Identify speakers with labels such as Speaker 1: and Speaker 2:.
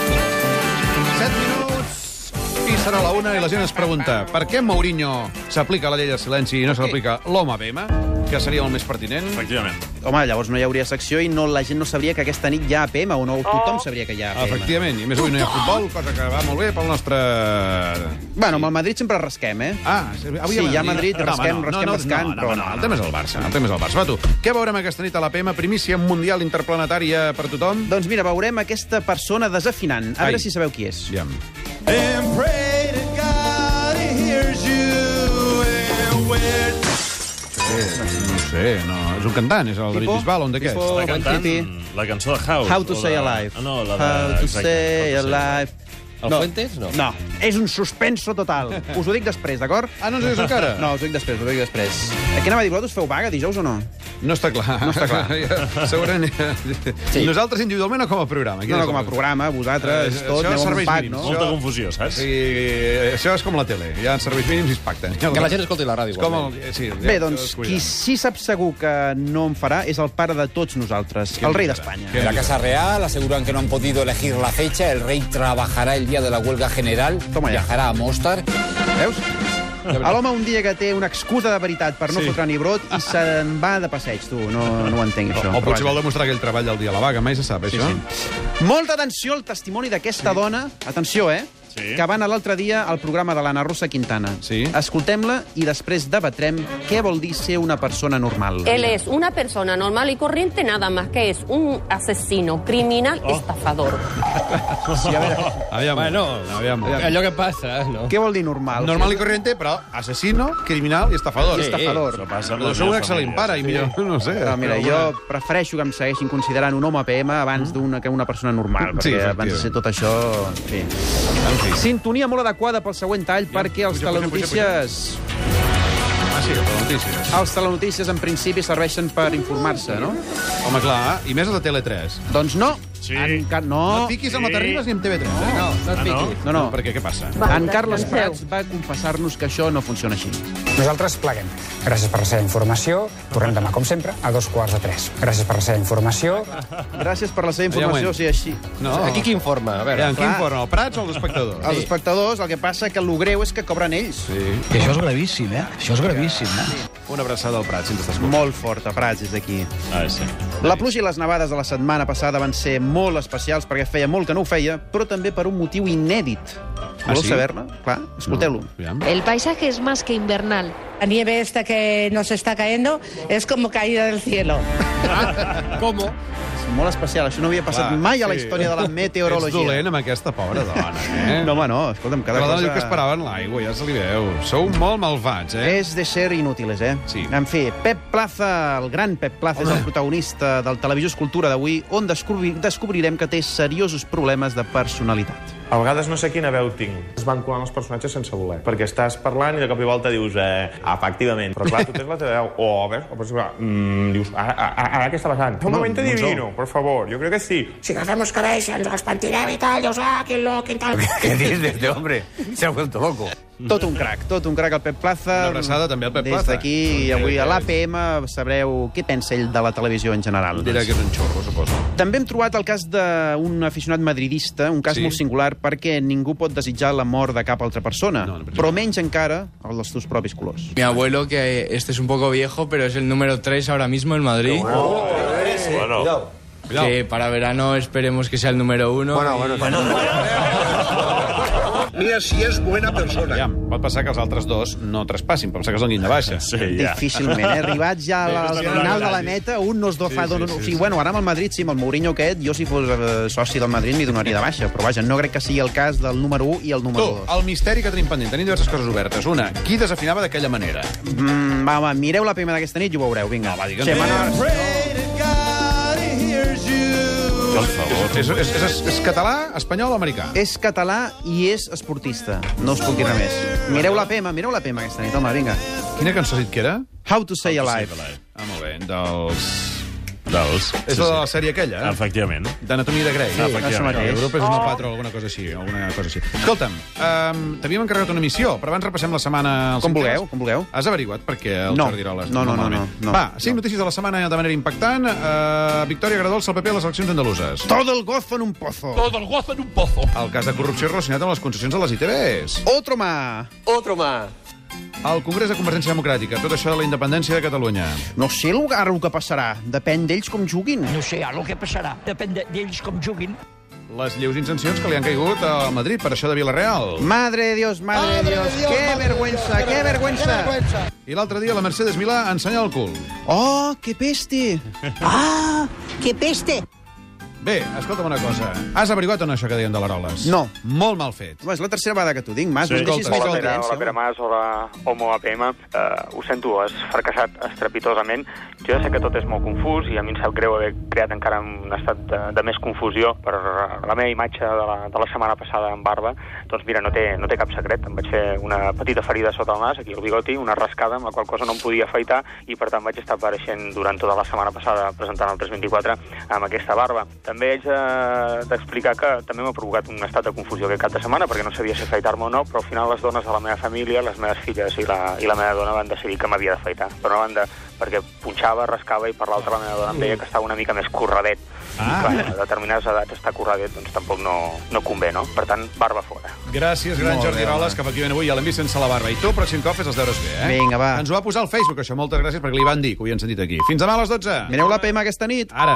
Speaker 1: 7 minuts i serà la una i la gent es pregunta per què Mourinho s'aplica la llei de silenci i no s'aplica l'home BM, que seria el més pertinent?
Speaker 2: Efectivament.
Speaker 3: Home, llavors no hi hauria secció i no, la gent no sabria que aquesta nit hi ha APM, o no tothom
Speaker 4: Oh.
Speaker 3: sabria que hi ha APM.
Speaker 1: Efectivament, i a més avui no hi ha futbol, cosa que va molt bé pel nostre...
Speaker 3: Bueno, amb el Madrid sempre resquem, eh?
Speaker 1: Ah, sí, avui
Speaker 3: Sí, ja a Madrid, rasquem,
Speaker 1: home,
Speaker 3: rasquem, rascant,
Speaker 1: No, no,
Speaker 3: però
Speaker 1: no,
Speaker 3: no,
Speaker 1: el tema és el Barça, el tema és el Barça. Va, tu, què veurem aquesta nit a la PM? Primícia mundial interplanetària per tothom?
Speaker 3: Doncs mira, veurem aquesta persona desafinant. A
Speaker 1: Ai.
Speaker 3: veure si sabeu qui és.
Speaker 1: Aviam.
Speaker 2: And pray to God he hears you everywhere.
Speaker 1: Eh, No sé, no... És un cantant, és el David
Speaker 3: Tipo?
Speaker 1: Bisbal, un
Speaker 3: Tipo?
Speaker 1: d'aquests.
Speaker 2: Està cantant
Speaker 3: Hippie.
Speaker 2: la cançó de House.
Speaker 3: Oh, How to
Speaker 2: o la-
Speaker 3: say alive.
Speaker 2: Ah, No, la de...
Speaker 3: How to
Speaker 2: exacte,
Speaker 3: say
Speaker 2: How to
Speaker 3: alive.
Speaker 5: El Fuentes, no?
Speaker 3: No, és un suspenso total. Us ho dic després, d'acord?
Speaker 1: Ah, no ens ho dius encara?
Speaker 3: No, us ho dic després, us ho dic després. Eh, Què anava a dir? Vosaltres feu vaga dijous o no?
Speaker 1: No està clar. No
Speaker 3: està clar.
Speaker 1: Segurament... Sí. Nosaltres individualment o com a programa? Quin és
Speaker 3: No, no,
Speaker 1: el
Speaker 3: com a
Speaker 1: problema?
Speaker 3: programa, vosaltres,
Speaker 1: Eh,
Speaker 3: tot,
Speaker 1: això
Speaker 3: aneu amb
Speaker 1: serveis
Speaker 3: un pack,
Speaker 1: mínims,
Speaker 3: no?
Speaker 2: Molta
Speaker 1: Això-
Speaker 2: confusió, saps?
Speaker 1: Sí, això és com la tele. Hi ha serveis mínims i es pacten.
Speaker 5: Que la gent escolti la ràdio,
Speaker 1: És com el... eh,
Speaker 5: igualment.
Speaker 1: Sí,
Speaker 3: Bé, doncs, qui sí sap segur que no en farà és el pare de tots nosaltres,
Speaker 1: en
Speaker 3: el rei
Speaker 1: dirà?
Speaker 3: d'Espanya.
Speaker 1: Què?
Speaker 6: En la Casa Real aseguran que no han podido elegir la fecha. El rey trabajará el día de la huelga general.
Speaker 3: Toma ya.
Speaker 6: Viajará a Mostar.
Speaker 3: Veus? A l'home un dia que té una excusa de veritat per no
Speaker 1: Sí.
Speaker 3: sí. fotre ni brot i se'n va de passeig, tu. No, no ho entenc,
Speaker 1: O,
Speaker 3: això.
Speaker 1: o potser
Speaker 3: Però
Speaker 1: vol demostrar aquell treball al dia a la vaga, mai se sap, això. Sí,
Speaker 3: vaja. Molta atenció al testimoni d'aquesta sí. dona. Atenció, eh?
Speaker 2: Sí.
Speaker 3: Que va anar l'altre dia al programa de l'Anna Rosa Quintana.
Speaker 1: Sí.
Speaker 3: Escoltem-la i després debatrem què vol dir ser una persona normal.
Speaker 7: Él es una persona normal y corriente, nada más que es un asesino, criminal, estafador.
Speaker 3: Sí, a veure,
Speaker 1: Aviam,
Speaker 5: Bueno,
Speaker 1: aviam. aviam.
Speaker 5: allò que passa, no?
Speaker 3: què vol dir normal?
Speaker 1: Normal i corriente, però assassino, criminal i estafador.
Speaker 3: Sí, estafador.
Speaker 2: Això passa amb
Speaker 1: Però
Speaker 2: la
Speaker 1: sou un
Speaker 2: meva
Speaker 1: excel·lent
Speaker 2: família,
Speaker 1: pare,
Speaker 2: sí.
Speaker 1: i millor, no ho sé.
Speaker 3: No, mira, jo prefereixo que em segueixin considerant un home PM abans d'una que una persona normal,
Speaker 1: Sí,
Speaker 3: perquè
Speaker 1: efectivament.
Speaker 3: abans de ser tot això... En fi. Sintonia molt adequada pel següent tall, perquè els
Speaker 1: puja, puja,
Speaker 3: telenotícies...
Speaker 1: Ah, sí, però notícies.
Speaker 3: Els telenotícies, en principi, serveixen per informar-se, no?
Speaker 1: Home, clar, i més a la Tele3.
Speaker 3: Doncs no.
Speaker 2: Sí.
Speaker 3: En Car
Speaker 1: No
Speaker 3: no.
Speaker 1: et fiquis amb la Terribas ni amb TV3. eh? No, no et fiquis.
Speaker 3: No, no.
Speaker 1: Per què? Què passa?
Speaker 3: En Carles Prats va confessar-nos que això no funciona així.
Speaker 6: Nosaltres pleguem. Gràcies per la seva informació. Tornem demà, com sempre, a dos quarts de tres. Gràcies per la seva informació.
Speaker 3: Gràcies per la seva
Speaker 1: Aviam,
Speaker 3: informació,
Speaker 1: bueno.
Speaker 3: o sigui, així.
Speaker 1: No.
Speaker 5: Aquí qui informa? A veure.
Speaker 1: Aviam, qui informa, el Prats o els espectadors?
Speaker 3: Els espectadors, el que passa que el greu és que cobren ells.
Speaker 1: Sí.
Speaker 8: I això és gravíssim, eh? Això és gravíssim, eh?
Speaker 1: Una abraçada al Prats, si ens estàs escoltant.
Speaker 3: Molt forta, Prats, des d'aquí.
Speaker 2: Ah, sí.
Speaker 3: La pluja i les nevades de la setmana passada van ser molt especials perquè feia molt que no ho feia, però també per un motiu inèdit. Voleu
Speaker 1: Ah, sí?
Speaker 3: saber-ne? Clar, escolteu-lo.
Speaker 1: Aviam.
Speaker 9: El paisaje es más que invernal.
Speaker 10: La nieve esta que nos está cayendo es como caída del cielo.
Speaker 5: Com?
Speaker 3: És molt especial, això no havia passat
Speaker 1: Clar,
Speaker 3: mai a la
Speaker 1: sí.
Speaker 3: història de la
Speaker 1: Ets
Speaker 3: meteorologia.
Speaker 1: dolent amb aquesta pobra dona, eh?
Speaker 3: No, home, no, escolta'm,
Speaker 1: Cada la
Speaker 3: cada
Speaker 1: dona
Speaker 3: cosa...
Speaker 1: diu que esperava en l'aigua, ja se li veu. Sou molt malvats, eh?
Speaker 3: És de ser inútiles, eh?
Speaker 1: Sí.
Speaker 3: En fi, Pep Plaza, el gran Pep Plaza, és el protagonista del Televisió Escultura d'avui, on descobri descobrirem que té seriosos problemes de personalitat.
Speaker 11: A vegades no sé quina veu tinc. Es van colant els personatges sense voler. Perquè estàs parlant i de cop i volta dius, eh, efectivament. Però clar, tu tens la teva veu. O, a veure, o per exemple, mm, dius, ara, ara, ara què està passant? Un moment divino, por favor. Jo crec que sí.
Speaker 10: Si nos vemos cabeza, nos partirá y tal, yo sáquenlo, que tal.
Speaker 6: ¿Qué dices de este hombre? Se ha vuelto loco.
Speaker 3: Tot un crac, tot un crac el Pep Plaza.
Speaker 1: Una abraçada també al Pep Plaza.
Speaker 3: Des d'aquí, i
Speaker 1: Doncs
Speaker 3: avui
Speaker 1: dirà
Speaker 3: a
Speaker 1: que
Speaker 3: l'APM sabreu què pensa ell de la televisió en general.
Speaker 1: Dirà que és un xorro, suposo.
Speaker 3: També hem trobat el cas d'un aficionat madridista, un cas
Speaker 1: Sí.
Speaker 3: sí. molt singular, perquè ningú pot desitjar la mort de cap altra persona,
Speaker 1: No,
Speaker 3: no,
Speaker 1: no,
Speaker 3: no,
Speaker 1: per
Speaker 3: però menys encara el dels teus propis colors.
Speaker 8: Mi abuelo, que este es un poco viejo, pero es el número 3 ahora mismo en Madrid.
Speaker 2: Bueno,
Speaker 8: Que para verano esperemos que sea el número 1.
Speaker 1: Aviam, pot passar que els altres dos no traspassin, pot passar que es donin de baixa.
Speaker 2: sí, ja.
Speaker 3: Yeah. Difícilment, eh? Arribats ja a la- al
Speaker 2: Sí,
Speaker 3: final de la
Speaker 2: sí.
Speaker 3: meta, un no es do, fa... Sí, sí, sí, o sigui, bueno, ara amb el Madrid, sí, amb el Mourinho aquest, jo si fos eh, soci del Madrid m'hi donaria de baixa, però vaja, no crec que sigui el cas del número 1 i el
Speaker 1: Tu,
Speaker 3: número 2.
Speaker 1: el misteri que tenim pendent. Tenim diverses coses obertes. Una, qui desafinava d'aquella manera?
Speaker 3: Mm, va, va, mireu la primera d'aquesta nit i ho veureu, vinga.
Speaker 1: va, digue'm.
Speaker 3: Xemena-
Speaker 2: Per favor.
Speaker 1: És, és, és, és català, espanyol o americà?
Speaker 3: És català i és esportista. No us puc dir res més. Mireu la Pema, mireu la Pema aquesta nit, home, vinga.
Speaker 1: Quina cançó has dit que era?
Speaker 3: How to say alive.
Speaker 1: Ah, molt bé, dels...
Speaker 2: Dels...
Speaker 1: És la de la sèrie aquella, eh?
Speaker 2: Efectivament.
Speaker 1: D'anatomia de Grey.
Speaker 2: Sí, efectivament.
Speaker 1: això mateix. Europa és una patra o alguna cosa així. Alguna cosa així. Escolta'm, um, t'havíem encarregat una missió, però abans repassem la setmana... els
Speaker 3: Com
Speaker 1: símptomes.
Speaker 3: vulgueu, com vulgueu.
Speaker 1: Has averiguat per què el
Speaker 3: No.
Speaker 1: Jordi Roles...
Speaker 3: No, no, no,
Speaker 1: malament?
Speaker 3: no, no.
Speaker 1: Va, cinc notícies de la setmana de manera impactant. Uh, Victòria Gradols al PP a les eleccions andaluses.
Speaker 3: Todo el gozo en un pozo.
Speaker 2: Tot el gozo en un pozo.
Speaker 1: El cas de corrupció relacionat amb les concessions de les ITVs.
Speaker 3: Otro más.
Speaker 1: El Congrés de Convergència Democràtica. Tot això de la independència de Catalunya.
Speaker 3: No sé el, ara el que passarà. Depèn d'ells com juguin.
Speaker 4: No sé, ara el que passarà. Depèn de- d'ells com juguin.
Speaker 1: Les lleus sancions que li han caigut a Madrid per això de Vilareal.
Speaker 3: Madre de Dios, madre, de Dios, qué vergüenza, qué vergüenza.
Speaker 1: I l'altre dia la Mercedes Milà ensenya el cul.
Speaker 3: Oh, qué peste.
Speaker 4: Ah, que peste!
Speaker 1: Bé, escolta'm una cosa. Has averiguat o no això que deien de l'Aroles?
Speaker 3: No.
Speaker 1: Molt mal fet.
Speaker 3: Home, és la tercera vegada que t'ho dic, Mas.
Speaker 2: Sí.
Speaker 3: Sí, no em deixis més
Speaker 1: Hola,
Speaker 3: al
Speaker 1: Pere,
Speaker 3: temps.
Speaker 12: Pere Mas, hola, Homo APM. Uh, ho sento, has fracassat estrepitosament. Jo ja sé que tot és molt confús i a mi em sap greu haver creat encara un estat de, de més confusió per la meva imatge de la, de la setmana passada amb barba. Doncs mira, no té, no té cap secret. Em vaig fer una petita ferida sota el nas, aquí al bigoti, una rascada amb la qual cosa no em podia afaitar i per tant vaig estar apareixent durant tota la setmana passada presentant el 324 amb aquesta barba. També haig de- d'explicar que també m'ha provocat un estat de confusió aquest cap de setmana perquè no sabia si afaitar-me o no, però al final les dones de la meva família, les meves filles i la, i la meva dona van decidir que m'havia d'afaitar. Per una banda perquè punxava, rascava i per l'altra la meva dona em deia que estava una mica més corradet. Ah. I clar, a determinades edats estar corradet doncs tampoc no, no convé, no? Per tant, barba fora.
Speaker 1: Gràcies, gran Jordi Roles, que efectivament avui ja l'hem vist sense la barba. I tu, el pròxim cop, fes els deures bé, eh?
Speaker 3: Vinga, va.
Speaker 1: Ens ho va posar al Facebook, això. Moltes gràcies, perquè li van dir que ho havien sentit aquí. Fins demà a les 12.
Speaker 3: Mireu la PM aquesta nit.
Speaker 1: Ara.